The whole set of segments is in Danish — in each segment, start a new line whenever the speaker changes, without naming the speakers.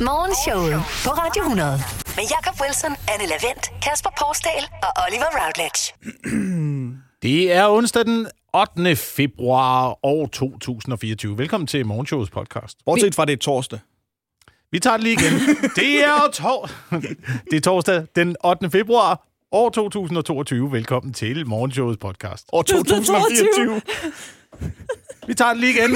Morgenshowet på Radio 100. Med Jakob Wilson, Anne Lavendt, Kasper Porsdal og Oliver Routledge.
Det er onsdag den 8. februar år 2024. Velkommen til Morgenshowets podcast.
Bortset fra, det er torsdag.
Vi tager det lige igen. Det er, jo tor- det er torsdag den 8. februar år 2022. Velkommen til Morgenshowets podcast.
År 2024.
Vi tager det lige igen.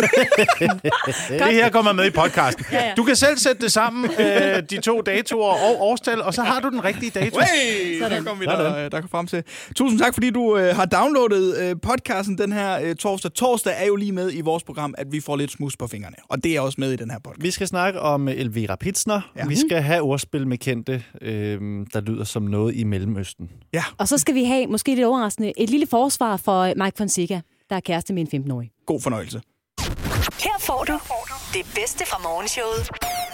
det her kommer med i podcasten.
Ja, ja.
Du kan selv sætte det sammen, øh, de to datoer og årstal, og så har du den rigtige dato.
Hey, der kom vi der, øh, der kom frem til. Tusind tak, fordi du øh, har downloadet øh, podcasten den her øh, torsdag. Torsdag er jo lige med i vores program, at vi får lidt smus på fingrene. Og det er også med i den her podcast.
Vi skal snakke om øh, Elvira Pitsner.
Ja.
Ja. Vi skal have ordspil med kendte, øh, der lyder som noget i Mellemøsten.
Ja,
Og så skal vi have, måske lidt overraskende, et lille forsvar for øh, Mike Fonseca, der er kæreste med en 15-årig.
god fornøjelse.
Her får du det bedste fra Morgenshowet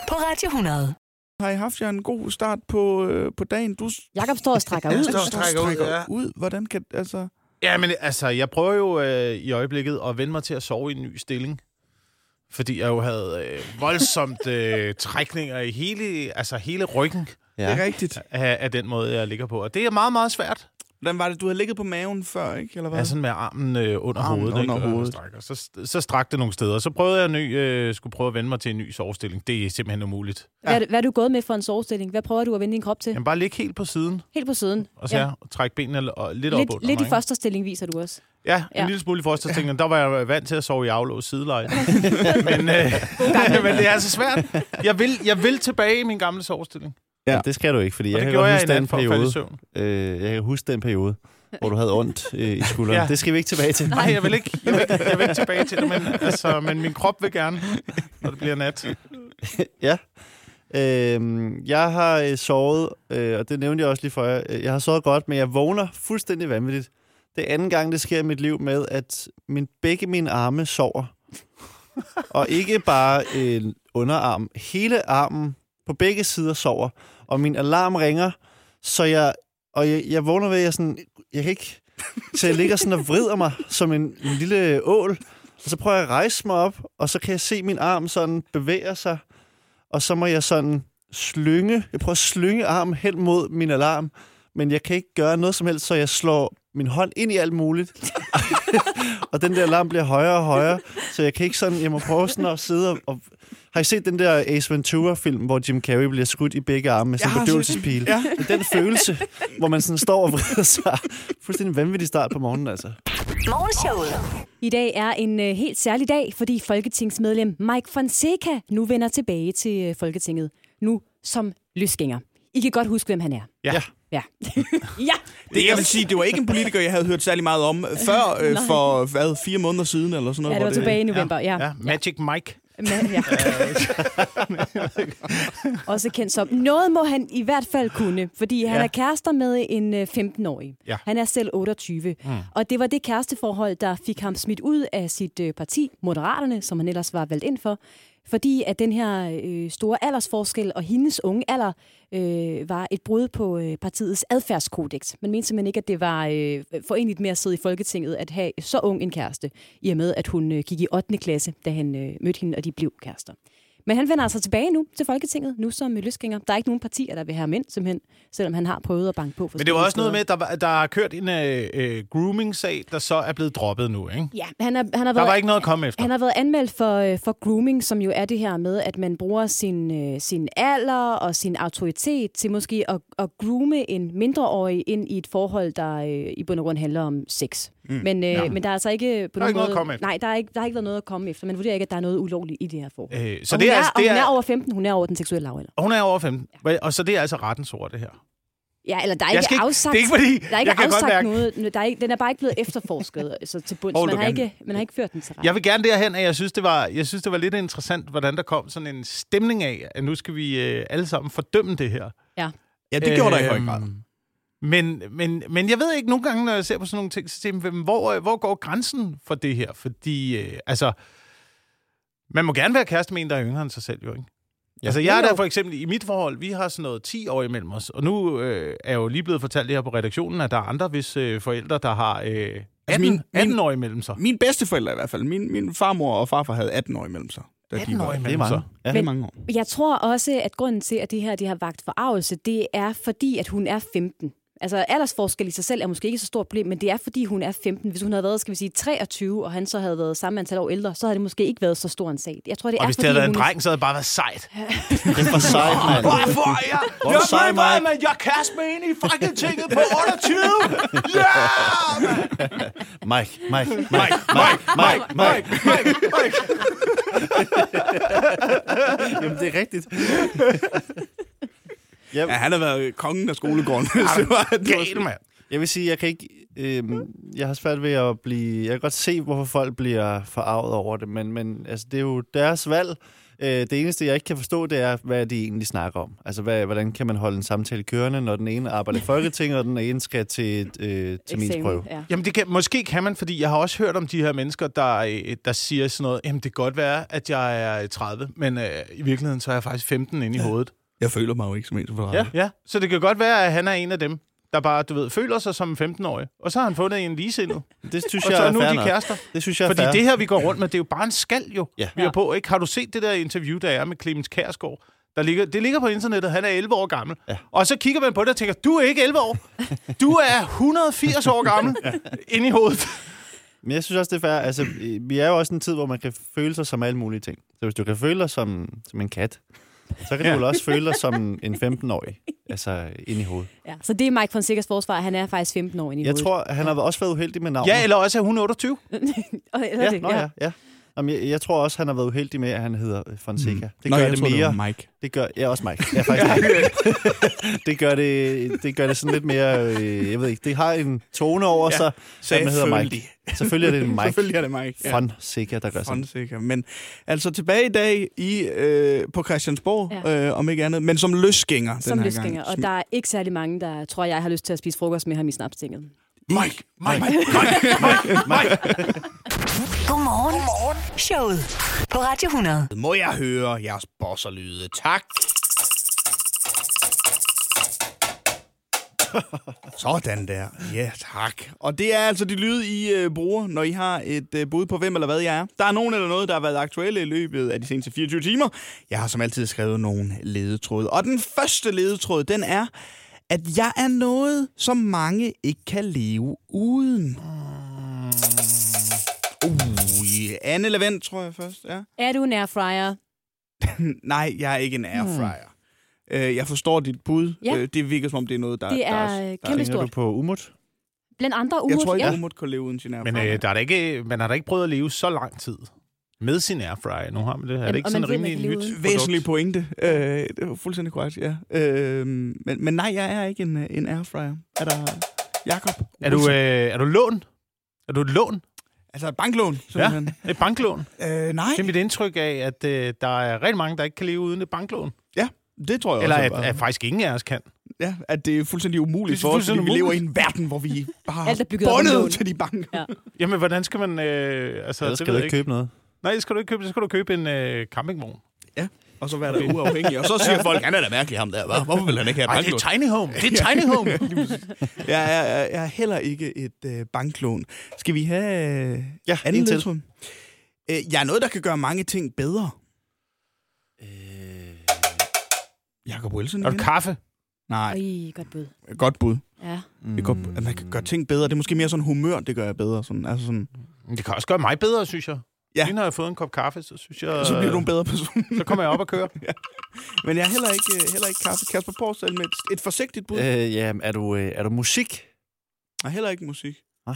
på Radio 100.
Har I haft jer en god start på, øh, på dagen? Du s-
Jakob står og strækker
Ja,
ud.
står og strækker ud, ja.
ud. Hvordan kan... Altså...
Ja, men altså, jeg prøver jo øh, i øjeblikket at vende mig til at sove i en ny stilling. Fordi jeg jo havde øh, voldsomt øh, trækninger i hele, altså hele ryggen
Ja. Det er rigtigt.
af, af den måde, jeg ligger på. Og det er meget, meget svært.
Hvordan var det? Du havde ligget på maven før, ikke? Eller hvad?
Jeg er sådan med armen øh, under
Armen
hovedet.
under
ikke? Og
hovedet.
strækker. Så, så strak det nogle steder. Så prøvede jeg en ny, øh, skulle prøve at vende mig til en ny sovestilling. Det er simpelthen umuligt.
Hvad, er det- hvad er du gået med for en sovestilling? Hvad prøver du at vende din krop til?
Jamen bare ligge helt på siden,
Helt på siden.
og så ja. trække benene l- og lidt, op
Lidt,
under
lidt
mig,
i
ikke?
første stilling viser du også.
Ja, en ja.
Ja.
lille smule i første ting. Der var jeg vant til at sove i aflåst sideleje. men, øh, men det er altså svært. Jeg vil, jeg vil tilbage i min gamle sovestilling.
Ja. Det skal du ikke, fordi
Og
jeg
det
kan,
gjorde
godt
jeg i nat
huske den
for at falde i
periode,
søvn.
øh, jeg kan huske den periode, hvor du havde ondt øh, i skulderen.
Ja.
Ja. Det skal vi ikke tilbage til.
Nej, jeg vil ikke, jeg vil ikke, jeg vil ikke tilbage til det, men, altså, men min krop vil gerne, når det bliver nat.
ja. Øhm, jeg har øh, sovet, øh, og det nævnte jeg også lige før, øh, jeg har sovet godt, men jeg vågner fuldstændig vanvittigt. Det er anden gang, det sker i mit liv med, at min, begge mine arme sover. og ikke bare øh, underarm, hele armen på begge sider sover, og min alarm ringer, så jeg, og jeg, jeg vågner ved, at jeg, sådan, jeg kan ikke, så jeg ligger sådan og vrider mig som en, en lille ål, og så prøver jeg at rejse mig op, og så kan jeg se min arm sådan bevæger sig, og så må jeg sådan slynge, jeg prøver at slynge armen hen mod min alarm, men jeg kan ikke gøre noget som helst, så jeg slår min hånd ind i alt muligt. og den der alarm bliver højere og højere, så jeg kan ikke sådan, jeg må prøve sådan at sidde og, og har I set den der Ace Ventura-film, hvor Jim Carrey bliver skudt i begge arme med sådan en
har set den.
bedøvelsespil? Ja. Det er den følelse, hvor man sådan står og vrider sig. Fuldstændig vanvittig start på morgenen, altså.
Morgenshowet.
I dag er en øh, helt særlig dag, fordi folketingsmedlem Mike Fonseca nu vender tilbage til øh, Folketinget. Nu som løsgænger. I kan godt huske, hvem han er.
Ja.
Ja. ja.
Det, jeg vil sige, det var ikke en politiker, jeg havde hørt særlig meget om øh, før øh,
Nej.
for hvad, fire måneder siden, eller sådan noget.
ja, det
hvor
var tilbage i november. Ja.
Ja, Magic Mike.
Men, ja. Også kendt som. Noget må han i hvert fald kunne, fordi han
Ja.
ja. er kærester med en øh, 15-årig.
Ja.
Han er selv 28. Mm. Og det var det kæresteforhold, der fik ham smidt ud af sit øh, parti, Moderaterne, som han ellers var valgt ind for, fordi at den her øh, store aldersforskel og hendes unge alder øh, var et brud på øh, partiets adfærdskodex. Man mente simpelthen ikke, at det var øh, forenligt med at sidde i Folketinget at have så ung en kæreste, i og med at hun øh, gik i 8. klasse, da han øh, mødte hende, og de blev kærester. Men han vender altså tilbage nu til Folketinget, nu som øh, løsgænger. Der er ikke nogen partier, der vil have mænd, simpelthen, selvom han har prøvet at banke på.
Men det var
forskellige
også noget
steder.
med, at der, var- der har kørt en øh, øh, grooming-sag, der så er blevet droppet nu, ikke?
Ja, han har, han har
Der
været
var ikke noget at komme efter.
Han har været anmeldt for, øh, for grooming, som jo er det her med, at man bruger sin, øh, sin alder og sin autoritet til måske at, at groome en mindreårig ind i et forhold, der øh, i bund og grund handler om sex. Mm. Men, øh,
Ja.
ja. men der er altså ikke på
Der er
nogen
ikke noget
måde,
at komme efter.
Nej, der er ikke, der har ikke været noget at komme efter. Man vurderer ikke, at der er noget ulovligt i det her forhold.
Øh,
og hun er, og
det
hun er over 15, hun er over den seksuelle lavalder.
hun er over 15. Og så det er altså rettens ord, det her.
Ja, eller der er
Jeg
ikke,
skal ikke-
afsagt,
det er ikke fordi-
der er ikke
jeg kan godt
afsagt
mærke-
noget. Der er ikke, den er bare ikke blevet efterforsket øh, så til bunds.
Hold
Man
da
har,
gerne.
ikke, man har ikke ført den til ret.
Jeg vil gerne derhen, at jeg synes, det var, jeg synes, det var lidt interessant, hvordan der kom sådan en stemning af, at nu skal vi øh, alle sammen fordømme det her.
Ja.
Ja, det gjorde der i høj
Øhm,
grad.
Men, men, men jeg ved ikke, nogle gange, når jeg ser på sådan nogle ting, så tænker jeg, "Hvem- hvor, øh, hvor går grænsen for det her? Fordi, øh, altså, man må gerne være kæreste med en, der er yngre end sig selv, jo ikke? Ja. Altså, jeg er der for eksempel i mit forhold, vi har sådan noget 10 år imellem os, og nu øh, er jeg jo lige blevet fortalt her på redaktionen, at der er andre, hvis øh, forældre, der har øh, 18,
Altså min- min-
18 år imellem sig.
Mine bedsteforældre i hvert fald. Min, min farmor og farfar havde 18 år imellem sig. da de
18 år
var...
Det er
imellem,
mange.
så.
Ja.
Det er mange år.
Jeg tror også, at grunden til, at det her det har vagt forarvelse, det er fordi, at hun er 15. Altså aldersforskel i sig selv er måske ikke så stort problem, men det er fordi, hun er 15. Hvis hun havde været, skal vi sige, 23, og han så havde været samme antal år ældre, så havde det måske ikke været så stor en sag. Jeg tror, det
Og
er
hvis det
fordi,
havde været en
hun er-
dreng, så havde det bare været sejt.
Det er for sejt, mand.
Hvorfor er jeg?
Hvor er du sej, Mike?
men jeg kaster mig ind i fucking tinget på 28! Ja!
Mike, Mike,
Mike, Mike, Mike, Mike, Mike, Mike.
Jamen, det er rigtigt.
Ja, han har været kongen af skolegården. hvis det var, at det var
Gal, mand.
Jeg vil sige, jeg kan ikke... Øh, jeg har svært ved at blive... Jeg kan godt se, hvorfor folk bliver forarvet over det, men, men altså, det er jo deres valg. Øh, det eneste, jeg ikke kan forstå, det er, hvad de egentlig snakker om. Altså, hvad, hvordan kan man holde en samtale kørende, når den ene arbejder i Folketinget, og den ene skal til, øh, til min
Eksamen,
prøve?
Ja.
Jamen, det kan, måske kan man, fordi jeg har også hørt om de her mennesker, der, øh, der siger sådan noget, jamen, det kan godt være, at jeg er 30, men øh, i virkeligheden, så er jeg faktisk 15 inde i hovedet.
Jeg føler mig jo ikke som en, som var Mm.
Ja. ja. Så det kan godt være, at han er en af dem, der bare, du ved, føler sig som en 15-årig. Og så har han fundet en ligesindet.
Det synes
Og
jeg
så
er
er nu
fair
de
nok.
kærester.
Det synes jeg er
Fordi
fair.
det her, vi går rundt med, det er jo bare en skal jo,
Ja.
vi er på. Ikke? Har du set det der interview, der er med Clemens Kærsgaard? Der ligger, det ligger på internettet, han er 11 år gammel. Ja. Og så kigger man på det og tænker, du er ikke 11 år. Du er 180 år gammel inde i hovedet.
Men jeg synes også, det er fair. Altså, øh, vi er jo også i en tid, hvor man kan føle sig som alle mulige ting. Så hvis du kan føle dig som, som en kat, så kan du vel også føle dig som en 15-årig. Altså, ind i hovedet.
Ja. Så det er Mike Fonseca's forsvar, han er faktisk 15 år inde i
Jeg
hovedet.
tror, han har også været uheldig med navnet.
Ja, eller også er hun 28.
Og- eller
ja,
det,
nå, ja. ja. Jamen, jeg, jeg tror også, han har været uheldig med, at han hedder øh, Fonseca. Mm. Det gør
Nå, jeg
det
troede,
mere...
det
Det,
var Mike.
det gør, ja, også Mike. Ja, faktisk. det, gør det, det gør det sådan lidt mere... Øh, jeg ved ikke, det har en tone over ja, sig, så man hedder Mike. Selvfølgelig er det en Mike.
Selvfølgelig er det Mike. Ja.
Fonseca, der gør sådan.
Fonseca. Men altså tilbage i dag i, øh, på Christiansborg, ja.
Ja.
øh, om ikke andet, men som løsgænger
Som
den her
løsgænger,
gang.
og der er ikke særlig mange, der tror jeg har lyst til at spise frokost med ham i snapstinget.
Mike, Mike, Mike.
Godmorgen. Godmorgen. Showet på Radio 100.
Må jeg høre jeres bosserlyde? Tak. Sådan der. Ja, tak. Og det er altså de lyde, I øh, bruger, når I har et øh, bud på, hvem eller hvad jeg er. Der er nogen eller noget, der har været aktuelle i løbet af de seneste 24 timer. Jeg har som altid skrevet nogle ledetråde. Og den første ledetråd, den er, at jeg er noget, som mange ikke kan leve uden. Uh, Anne Levent, tror jeg først, ja.
Er du en airfryer?
Nej, jeg er ikke en airfryer. Mm. Øh, jeg forstår dit bud.
Hmm. Ja.
Øh, det virker som om, det er noget, der...
Det
der,
er
der
øh, kæmpe
Tænker du
stort.
på Umut?
Blandt andre
Jeg
umut,
tror ikke,
ja.
at Umut kan leve uden sin airfryer.
Men øh, der er da ikke, man har da ikke prøvet at leve så lang tid med sin airfryer. Nu har man det. Er
Jamen,
det ikke
og
sådan
man ved, man
rimelig
kan leve
nyt
uden.
produkt?
Væsentlig pointe. Øh, det er fuldstændig korrekt, ja. Øh, men, men nej, jeg er ikke en, øh, en airfryer. Er der... Jakob?
Er du, øh, er du lån? Er du et lån?
Altså et banklån, simpelthen.
Ja, et banklån.
Ja. Øh, nej,
Det er mit indtryk af, at øh, der er rigtig mange, der ikke kan leve uden et banklån.
ja, det tror jeg
Eller
også.
at,
bare-
at faktisk ingen af os kan.
ja, at det er fuldstændig umuligt
Det er
for os, fordi vi
fuldstændig
lever i en verden, hvor vi bare
Alt er bygget op af lån.
bundet til de banker.
Ja.
Jamen, hvordan skal man... Øh, altså,
Ellers
det
skal
ved jeg
du ikke købe noget.
Nej, det skal du ikke købe. Så skal du købe en øh, campingvogn.
Og så være der uafhængig. Og så siger folk, han er da mærkelig ham der. hva? Hvorfor vil han ikke have et banklån?
tiny home. Det er tiny home.
Jeg er, jeg er heller ikke et øh, banklån. Skal vi have øh,
Ja,
anden
en til.
ledtråd? Øh, jeg er noget, der kan gøre mange ting bedre. Øh... Jakob Wilson
er du
igen?
kaffe?
Nej,
Ej, godt bud.
godt bud.
Ja.
Mm. Det er godt, at man kan gøre ting bedre. Det er måske mere sådan humør, det gør jeg bedre. Sådan, altså sådan,
Det kan også gøre mig bedre, synes jeg.
Ja.
Ja. Lige når jeg har fået en kop kaffe, så synes jeg... øh,
så bliver du en bedre person.
så kommer jeg op og kører.
Øh. Men jeg er heller ikke, øh, heller ikke kaffe. Kasper Porsdal med et, et forsigtigt bud. Øh.
Øh, ja, er du, øh, er du musik?
Og heller ikke musik.
Hva?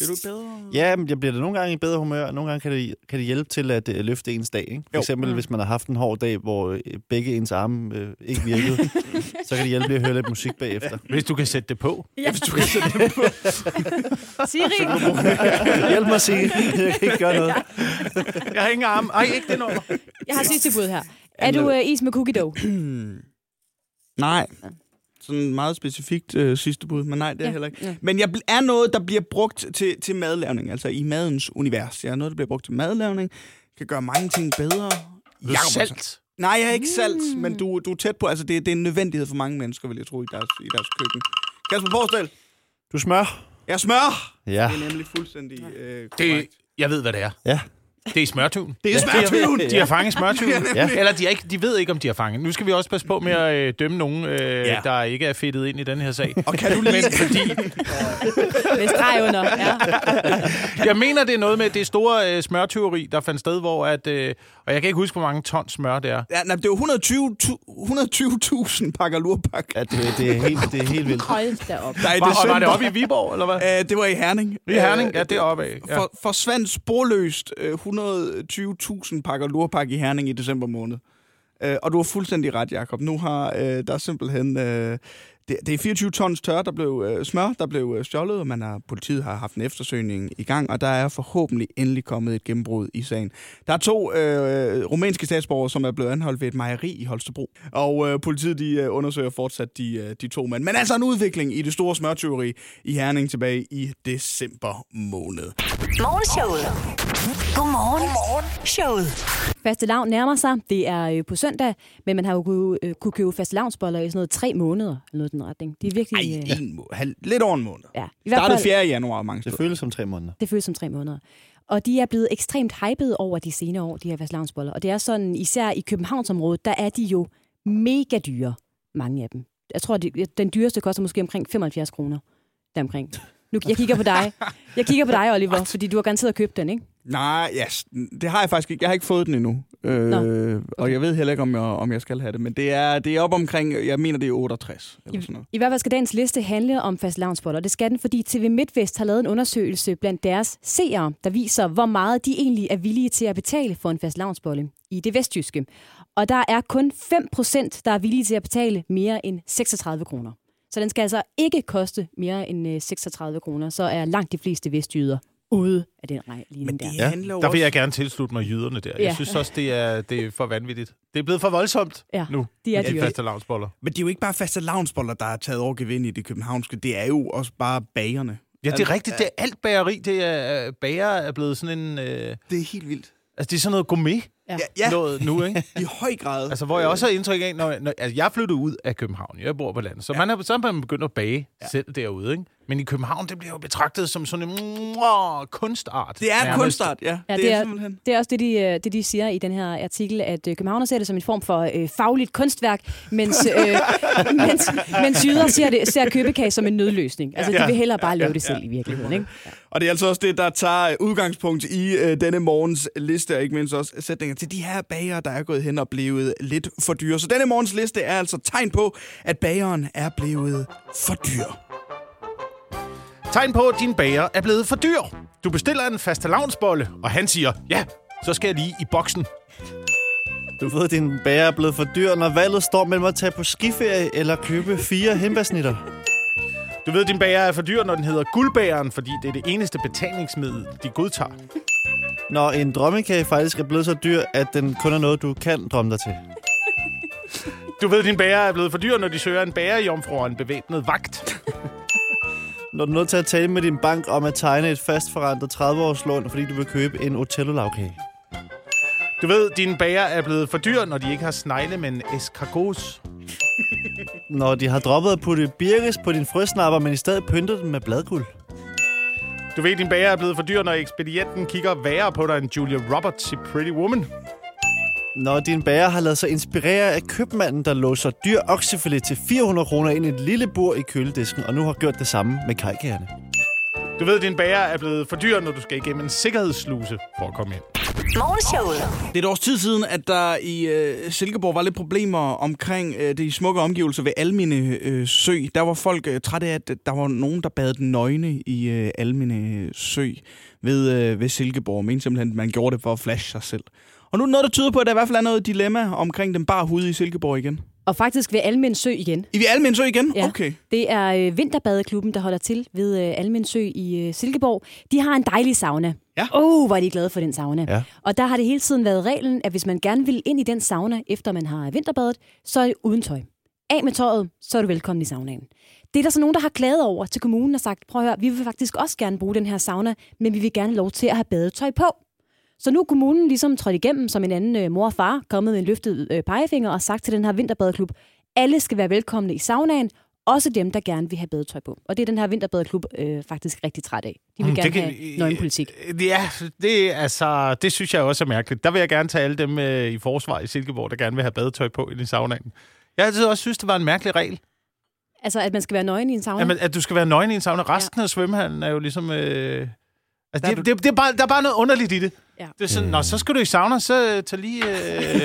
Er du bedre?
Ja, men jeg bliver da nogle gange i bedre humør, og nogle gange kan det, kan det hjælpe til at øh, løfte ens dag. Ikke? For
Jo. Mm.
eksempel, hvis man har haft en hård dag, hvor øh, begge ens arme øh, ikke virkede, så kan det hjælpe lige at høre lidt musik bagefter.
Hvis du kan sætte det på.
ja. Hvis du kan
Altså,
Siri!
Hjælp mig at sige, jeg kan ikke gøre noget.
Jeg har ingen arme. Ej, ikke det nummer.
Jeg har sidste bud her. Er du øh, is med cookie dough?
Nej. Sådan meget specifikt øh, sidste bud, men nej, det er ja.
Ja,
heller ikke. Ja.
ja.
Men jeg bl- er noget, der bliver brugt til, til madlavning, altså i madens univers. Jeg er noget, der bliver brugt til madlavning, kan gøre mange ting bedre.
Du
Jakob, altså.
salt.
Nej, jeg er ikke salt, mm. men du, du er tæt på. Altså, det, det er en nødvendighed for mange mennesker, vil jeg tro, i deres, i deres køkken. Kasper Porsdal,
Du smør.
jeg smør!
Ja.
Det er nemlig fuldstændig øh, korrekt.
Det, jeg ved, hvad det er.
Ja.
Det er smørtyven.
Det er smørtyven.
De har, de har fanget smørtyven.
Ja.
ja. Eller de, er ikke, de ved ikke, om de har fanget. Nu skal vi også passe på med at øh, dømme nogen, øh,
Ja.
ja. der ikke er fedtet ind i den her sag.
Og kan du lide...
Fordi
Med streg under. Ja.
jeg mener, det er noget med det store øh, smørtyveri, der fandt sted, hvor at... Øh, og jeg kan ikke huske, hvor mange ton smør det er.
Ja, nej, det var 120 tu- 120.000 pakker lurpak.
Ja, det, det, er helt, det er helt vildt.
Hold da op.
Nej,
Var, og var det
søndag.
oppe i Viborg, eller hvad?
Øh, det var i Herning.
I Herning?
Øh,
Ja, det er oppe af. Ja.
For, forsvandt sporløst øh, 120.000 pakker lurpak i Herning i december måned. Øh, og du har fuldstændig ret, Jakob. Nu har øh, der er simpelthen... Øh, det, det er 24 tons tør, der blev øh, smør, der blev øh, stjålet, og man har, politiet har haft en eftersøgning i gang, og der er forhåbentlig endelig kommet et gennembrud i sagen. Der er to øh, rumænske statsborgere, som er blevet anholdt ved et mejeri i Holstebro, og øh, politiet de, øh, undersøger fortsat de, øh, de to mænd. Men altså en udvikling i det store smørtyveri i Herning tilbage i december måned.
Morgenshowet. Godmorgen. Godmorgen. Showet.
Faste lavn nærmer sig. Det er øh, på søndag, men man har jo kunne, øh, kunne købe faste lavnsboller i sådan noget tre måneder. Eller noget i den retning. Det er virkelig...
Ej,
øh,
en må- halv, lidt over en måned.
ja. I hvert
Startede
fald,
4. januar mange
Det
steder.
føles som tre måneder.
det føles som tre måneder. Og de er blevet ekstremt hypede over de senere år, de her faste lavnsboller. Og det er sådan, især i Københavnsområdet, der er de jo mega dyre. Mange af dem. Jeg tror, det, den dyreste koster måske omkring 75 kroner. Deromkring. Nu, jeg kigger på dig. Jeg kigger på dig, Oliver, fordi du har garanteret købt den, ikke?
Nej, yes, det har jeg faktisk ikke. Jeg har ikke fået den endnu. Øh, okay. Og jeg ved heller ikke, om jeg, om jeg skal have det. Men det er, det er op omkring, jeg mener, det er 68 eller sådan noget.
I hvert fald skal dagens liste handle om fast og det skal den, fordi TV MidtVest har lavet en undersøgelse blandt deres seere, der viser, hvor meget de egentlig er villige til at betale for en fast i det vestjyske. Og der er kun 5%, der er villige til at betale mere end 36 kroner. Så den skal altså ikke koste mere end øh, 36 kroner, så er langt de fleste vestjyder ude af den regning der.
Ja,
handler jo
Der vil jeg gerne tilslutte mig jyderne der.
Ja.
Jeg synes også, det er, det er for vanvittigt. Det er blevet for voldsomt
Ja,
nu.
de er
med
dyre.
faste lavnsboller.
Men det er jo ikke bare faste lavnsboller, der er taget over gevind i det københavnske. Det er jo også bare bagerne. Altså,
Ja, det er rigtigt. Det er alt bageri. Det er, øh, bager er blevet sådan en... Øh,
Det er helt vildt.
altså, det er sådan noget gourmet.
Ja, ja
Ja. Noget nu, ikke?
i høj grad.
Altså, hvor jeg også har indtryk af, når, når altså, jeg flyttede ud af København. Jeg bor på landet. Så, ja. man er, så er man begyndt at bage ja. selv derude, ikke? Men i København, det bliver jo betragtet som sådan en mwah, kunstart.
Det er en
nærmest.
kunstart, ja.
Ja, det, er, det er også det de, øh, det, de siger i den her artikel, at øh, københavner ser det som en form for øh, fagligt kunstværk, mens, øh, mens, mens jyder ser, det, ser købekage som en nødløsning. Altså, de vil hellere bare lave det selv i virkeligheden, ikke?
Og det er altså også det, der tager øh, udgangspunkt i øh, denne morgens liste, og ikke mindst også sætninger til de her bager, der er gået hen og blevet lidt for dyre. Så denne morgens liste er altså tegn på, at bageren er blevet for dyr.
Tegn på, at din bager er blevet for dyr. Du bestiller en fastelavnsbolle, og han siger, ja, så skal jeg lige i boksen.
Du ved, at din bager er blevet for dyr, når valget står mellem at tage på skiferie eller købe fire hembærsnitter.
Du ved, din bager er for dyr, når den hedder guldbageren, fordi det er det eneste betalingsmiddel, de godtager.
Når en drømmekage faktisk er blevet så dyr, at den kun er noget, du kan drømme dig til.
Du ved, din bager er blevet for dyr, når de søger en bagerjomfru og en bevæbnet vagt.
Når du er nødt til at tale med din bank om at tegne et fastforrentet 30-årslån, fordi du vil købe en Otello-lavkage.
Du ved, din bager er blevet for dyr, når de ikke har snegle, men escargots.
Når de har droppet at putte birkes på din frøsnapper, men i stedet pyntet den med bladguld.
Du ved, din bager er blevet for dyr, når ekspedienten kigger værre på dig end Julia Roberts i Pretty Woman.
Når din bager har lavet sig inspirere af købmanden, der låser dyr oksefilet til 400 kroner ind i et lille bur i køledisken, og nu har gjort det samme med kajkagerne.
Du ved, din bager er blevet for dyr, når du skal igennem en sikkerhedssluse for at komme ind.
Morgenshowet.
Det er et års tid siden, at der i øh, Silkeborg var lidt problemer omkring øh, de smukke omgivelser ved Almine øh, Sø. Der var folk øh, trætte af, at der var nogen, der bad den nøgne i øh, Almine Sø ved, øh, ved Silkeborg. Men simpelthen, at man gjorde det for at flashe sig selv. Og nu er der noget, der tyder på, at der i hvert fald er noget dilemma omkring den bare hud i Silkeborg igen.
Og faktisk ved Almen Sø igen.
I ved Almine Sø igen?
Ja.
Okay.
Det er øh, Vinterbadeklubben, der holder til ved øh, Almen Sø i øh, Silkeborg. De har en dejlig sauna.
Ja.
Åh, oh, hvor er de glade for den sauna.
Ja.
Og der har det hele tiden været reglen, at hvis man gerne vil ind i den sauna, efter man har vinterbadet, så er det uden tøj. Af med tøjet, så er du velkommen i saunaen. Det er der så nogen, der har klaget over til kommunen og sagt, prøv at høre, vi vil faktisk også gerne bruge den her sauna, men vi vil gerne have lov til at have badetøj på. Så nu er kommunen ligesom trådt igennem som en anden øh, mor og far, kommet med en løftet øh, pegefinger og sagt til den her vinterbadeklub, alle skal være velkomne i saunaen, Også dem, der gerne vil have badetøj på. Og det er den her vinterbadeklub øh, faktisk rigtig træt af. De vil
Mm,
gerne
det kan- Øh,
have nøgenpolitik.
Ja, det, altså, det synes jeg også er mærkeligt. Der vil jeg gerne tage alle dem øh, i forsvar i Silkeborg, der gerne vil have badetøj på ind i saunaen. Jeg har altid også synes, det var en mærkelig regel,
Altså, at man skal være nøgen i en sauna.
at, man, at du skal være nøgen i en sauna. Resten af svømmehallen er jo ligesom... Øh, altså,
er
det, det, det er bare, der er bare noget underligt i det.
Ja.
Det er sådan, Nå, så skal du i sauna, så øh, tag lige... Øh,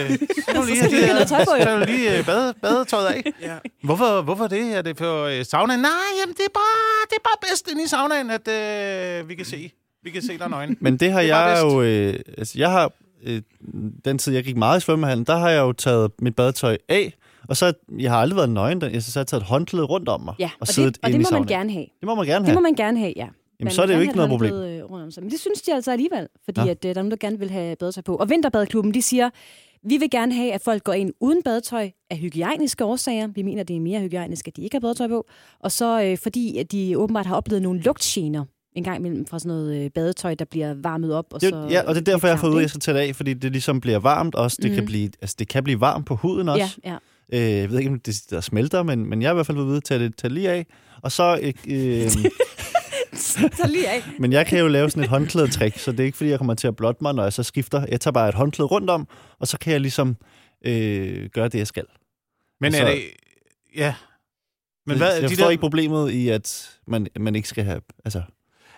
så kan du lige,
skal du lige have noget tøj på, jo.
så kan du lige øh, bade, badetøjet af. ja. hvorfor, hvorfor det? Er det for øh, saunaen? Nej, jamen, det er bare, det er bare bedst inde i saunaen, at øh, vi kan se. Vi kan se dig nøgen.
Men det har
Det
det
er bare
jeg
bedst.
jo... Øh, altså, jeg har... Øh, den tid, jeg gik meget i svømmehallen, der har jeg jo taget mit badetøj af, og så jeg har aldrig været nøgen, der- så jeg har taget et håndklæde rundt om mig
Ja, og,
siddet
det, og
inde
det
i
må man
saunaen.
gerne have.
Det må man gerne
Det
have.
må man gerne have, ja.
Jamen,
Man
så er
vil
det jo
gerne
ikke
have
noget
et
problem.
håndklæde, øh, Rundt om sig. Men det synes de altså alligevel, fordi
Ja.
ja. at, øh, der er nogen, der gerne vil have badetøj på. Og vinterbadeklubben, de siger, vi vil gerne have, at folk går ind uden badetøj af hygiejniske årsager. Vi mener, det er mere hygiejnisk, at de ikke har badetøj på. Og så øh, fordi, at de åbenbart har oplevet nogle lugtgener en gang imellem fra sådan noget øh, badetøj, der bliver varmet op. Og
Det, er
så
jo- ja, og det er derfor, jeg har fået ud, at jeg
Ikke?
skal tage det af, fordi det ligesom bliver varmt også. Det, mm. kan,
Mhm.
blive, altså, det kan blive varmt på huden også.
Ja, ja.
Øh, jeg ved ikke, om det der smelter, men, men jeg har i hvert fald været ude til at tage lige af. Og så, øh, øh,
Så lige af.
men jeg kan jo lave sådan et håndklædetrik, så det er ikke, fordi jeg kommer til at blotte mig, når jeg så skifter. Jeg tager bare et håndklæde rundt om, og så kan jeg ligesom øh, gøre det, jeg skal.
Men er
Så-
det... Ja. Men
Men
hvad,
hvad, jeg
de
forstår
der,
ikke problemet i, at man, man ikke skal have... Altså,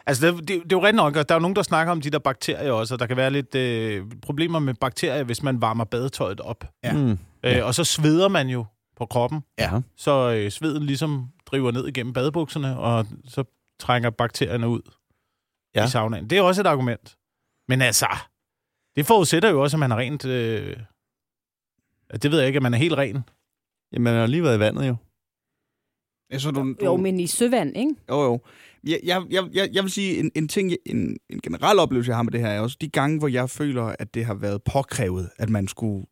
altså, det, det, det er jo rigtigt nok, og der er jo nogen, der snakker om de der bakterier også, og der kan være lidt øh, problemer med bakterier, hvis man varmer badetøjet op.
Ja.
mm,
Øh, og så sveder man jo på kroppen,
ja.
så øh, sveden ligesom driver ned igennem badebukserne, og så trænger bakterierne ud ja.
Ja.
i saunaen. Det er også et argument. Men altså, det forudsætter jo også, at man er rent... Øh, det ved jeg ikke, at man er helt ren.
Jamen, man har jo lige været i vandet jo.
Jeg så, du, du,
Jo, men i søvand, ikke?
Jo, jo. Jeg, jeg, jeg, jeg, jeg vil sige, en, en ting, jeg- en, en generel oplevelse, jeg har med det her, er også de gange, hvor jeg føler, at det har været påkrævet, at man skulle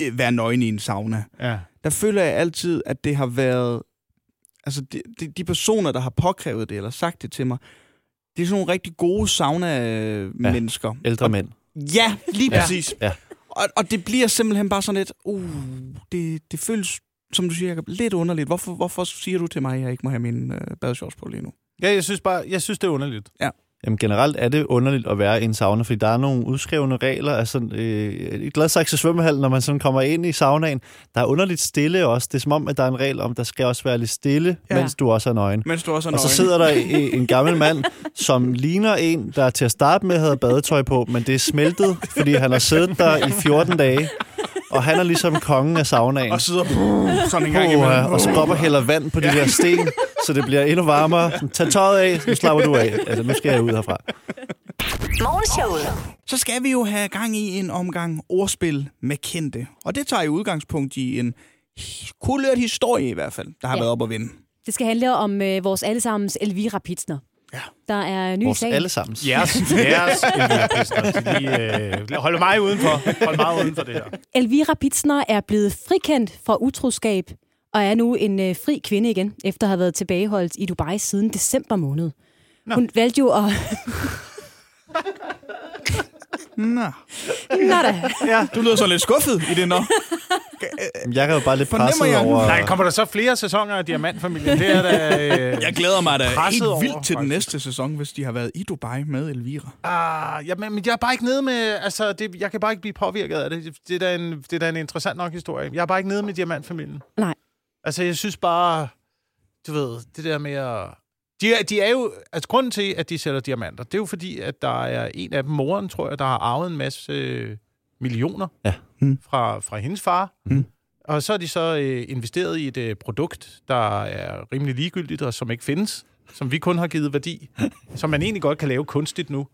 øh, være nøgen i en sauna.
Ja.
Der føler jeg altid, at det har været... Altså, de, de, de personer, der har påkrævet det, eller sagt det til mig, det er sådan nogle rigtig gode sauna-mennesker.
Ældre mænd.
Ja, lige
Ja.
præcis.
Ja.
Og, og det bliver simpelthen bare sådan lidt, uh, det, det føles, som du siger, Jacob, lidt underligt. Hvorfor, hvorfor siger du til mig, at jeg ikke må have min øh, badeshorts på lige nu?
Ja, jeg synes bare, jeg synes, det er underligt.
Jamen generelt er det underligt at være i en sauna, fordi der er nogle udskrevne regler. Altså, øh, I Gladsaxe svømmehal, når man sådan kommer ind i saunaen, der er underligt stille også. Det er som om, at der er en regel om, der skal også være lidt stille,
Ja.
ja. mens du også er nøgen.
Mens du også er
Og så
nøgen.
sidder der øh, en gammel mand, som ligner en, der til at starte med havde badetøj på, men det er smeltet, fordi han har siddet der i 14 dage. Og han er ligesom kongen af saunaen.
og sidder brrr, sådan en gang imellem.
Puh, og så går op og hælder vand på de der sten, så det bliver endnu varmere. Sådan, Tag tøjet af, nu slapper du af. Altså, nu skal jeg ud herfra.
Morgenshowet.
Så skal vi jo have gang i en omgang ordspil med kendte. Og det tager jo udgangspunkt i en kulørt historie i hvert fald, der har
Ja.
været op at vinde.
Det skal handle om øh, vores allesammens Elvira Pitsner.
Ja.
Der er ny
Vores
sag.
allesammens.
Jeres, jeres Elvira Pitsner. Så lige, øh, hold mig udenfor. Hold meget udenfor det her.
Elvira Pitsner er blevet frikendt for utroskab og er nu en øh, fri kvinde igen, efter at have været tilbageholdt i Dubai siden december måned. Nå. Hun valgte jo at...
Nå.
Nå da.
Ja. Du lyder så lidt skuffet i det, nå.
Jeg er jo bare lidt
Fornemmer
presset
jeg?
over...
Nej, kommer der så flere sæsoner af Diamantfamilien? Det er da... Øh,
Jeg glæder mig da
Presset
helt
over,
vildt til den
faktisk.
næste sæson, hvis de har været i Dubai med Elvira.
ah, ja, men, men jeg er bare ikke nede med... Altså, det, jeg kan bare ikke blive påvirket af det. Det er, da en, det er da en interessant nok historie. Jeg er bare ikke nede med Diamantfamilien.
Nej.
Altså, jeg synes bare... Du ved, det der med at... De er, de er jo... Altså, grunden til, at de sælger diamanter, det er jo fordi, at der er en af dem, moren, tror jeg, der har arvet en masse øh, millioner
Ja.
Mm.
fra, fra hendes far.
Mm.
Og så er de så øh, investeret i et øh, produkt, der er rimelig ligegyldigt, og som ikke findes, som vi kun har givet værdi, som man egentlig godt kan lave kunstigt nu,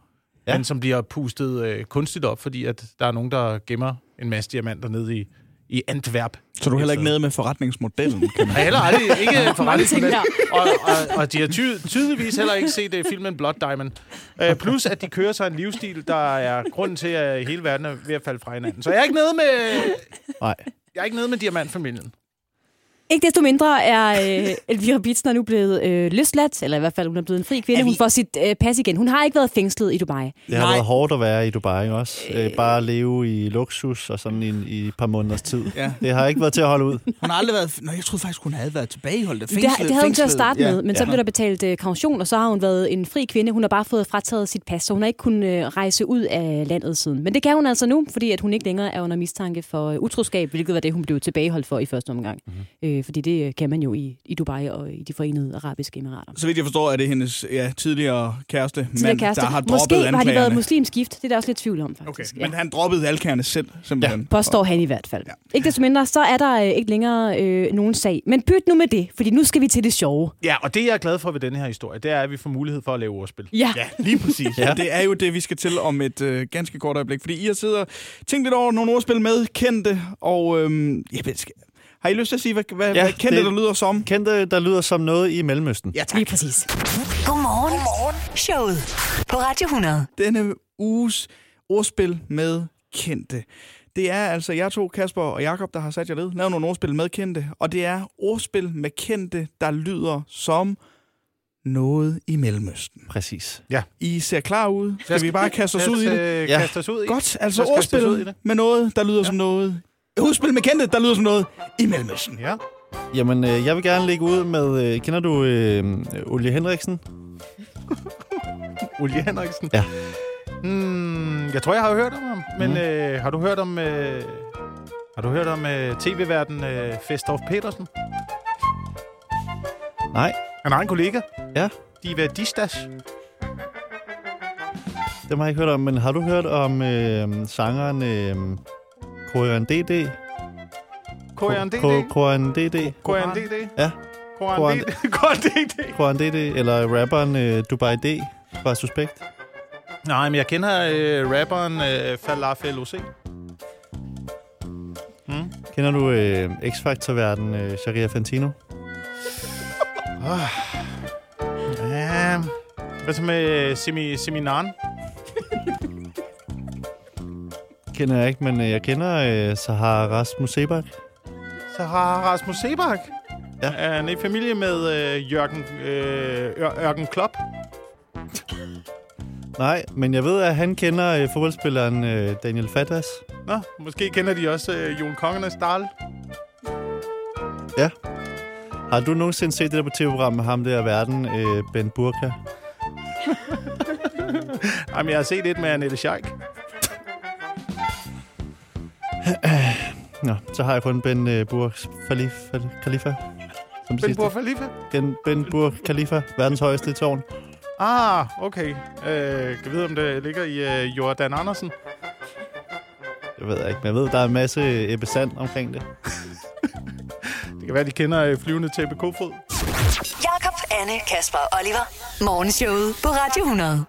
ja.
Ja.
men som bliver pustet øh, kunstigt op, fordi at der er nogen, der gemmer en masse diamanter nede i, i Antwerp.
Så du er heller ikke nede med forretningsmodellen, kan man.
Jeg har heller aldrig ikke
Mange ting
forretning
der.
og, og, og de har ty- tydeligvis heller ikke set uh, filmen Blood Diamond. Uh, plus, at de kører sig en livsstil, der er grunden til, at hele verden er ved at falde fra hinanden. Så jeg er ikke nede med,
Nej.
jeg er ikke nede med diamantfamilien.
Ikke desto mindre er øh, Elvira Bitsner nu blevet øh, løsladt, eller i hvert fald hun er blevet en fri kvinde.
Er vi-
Hun får sit øh, pas igen. Hun har ikke været fængslet i Dubai.
Det har
Nej.
Nej. været hårdt at være i Dubai ikke også. Øh, bare at leve i luksus og sådan i, en- i et par måneders tid.
Ja.
Det har ikke været til at holde ud.
Hun har aldrig været... Nå, jeg troede faktisk, hun havde været tilbageholdt.
Det, har- det havde hun til at
fængslet.
starte
Ja.
med, men så blev der betalt øh, kaution, og så har hun været en fri kvinde. Hun har bare fået frataget sit pas, så hun har ikke kunnet øh, rejse ud af landet siden. Men det kan hun altså nu, fordi at hun ikke længere er under mistanke for øh, utroskab, hvilket var det, hun blev tilbageholdt for i første omgang.
Mhm.
Mm-hmm. Øh, fordi det øh, kan man jo i, i Dubai og i de forenede arabiske emirater.
Så vidt jeg forstår, er det hendes ja, tidligere kæreste,
Tidligere
mand,
kæreste.
der har droppet
altså- Måske har de
anklagerne.
været muslimsk gift, det er der også lidt tvivl om
Okay,
faktisk.
men han droppede alkagerne selv, simpelthen. Ja.
Påstår han i hvert fald. Ja. Ikke desto mindre, så er der øh, ikke længere øh, nogen sag. Men byt nu med det, fordi nu skal vi til det sjove.
Ja, og det, jeg er glad for ved den her historie, det er, at vi får mulighed for at lave ordspil.
Ja.
Ja, lige præcis. ja. Det er jo det, vi skal til om et øh, ganske kort øjeblik. Fordi I har siddet og tænkt lidt over nogle ordspil med kendte, og øhm, jeg ved, skal... har I lyst til at sige, hvad, hvad, ja,
Ja,
hvad kendte det...
det-
der lyder som?
Kendte, der lyder som noget i Mellemøsten.
Ja,
Lige præcis.
Godmorgen. Godmorgen. Showet på Radio 100.
Denne uges ordspil med kendte. Det er altså jer to, Kasper og Jakob, der har sat jer ned, lavet nogle ordspil med kendte, og det er ordspil med kendte, der lyder som noget i Mellemøsten.
Præcis.
I ser klar ud. Skal vi bare kaste os
Lad
ud i det?
øh,
Ja.
kaste os ud i det.
Godt, altså
Lad os kaste os ud i
ordspil
det.
med noget, der lyder ja. som noget. Ordspil med kendte, der lyder som noget i Mellemøsten.
Ja.
Jamen, øh, jeg vil gerne lægge ud med... Øh, kender du øh, Olie Henriksen?
Ole Henriksen.
Ja. Mhm.
Hmm, jeg tror, jeg har hørt om ham. Men mm. øh, har du hørt om... Øh, har du hørt om øh, tv-verden øh, Festorf Petersen?
Nej.
Han har en kollega.
Ja,
Diva Distas.
dem har jeg ikke hørt om. Men har du hørt om øh, sangeren øh, Koran DD?
Koran DD.
Koran DD?
Koran DD.
Ja,
Koran
Koran-
DD. Koran DD.
Koran DD. Eller rapperen øh, Dubai D fra Suspekt.
Nej, men jeg kender øh, rapperen øh, Falafel OC.
Kender du øh, X-Factor-verden øh, Sharia Fantino?
Ja. Hvad så med øh, Semi, Seminaren?
Kender jeg ikke, men øh, jeg kender øh, Sahara Rasmus Sebak.
Så har Rasmus Sebak.
Ja.
Er han i familie med øh, Jørgen, øh, Ør- Ørken Klopp?
Nej, men jeg ved, at han kender øh, fodboldspilleren øh, Daniel Fadas.
Nå, måske kender de også øh, Jon Kongernes Dahl.
Ja. Har du nogensinde set det der på tv-program med ham der i verden, øh, Ben Burka?
Jamen, jeg har set et med Annette Scheik.
Nå, så har jeg kun Ben øh, Burk Falif, Fal, Khalifa. Som det
Ben
sidste.
Burf Khalifa.
Ben, ben Burk Khalifa, verdens højeste tårn.
Ah, okay. Øh, kan vide, om det ligger i øh, Jordan Andersen?
Jeg ved ikke, men jeg ved, der er en masse øh, Ebbe Sand omkring det.
Det kan være, de kender øh, flyvende tæppe Kofod.
Jakob, Anne, Kasper og Oliver. Morgenshowet på Radio 100.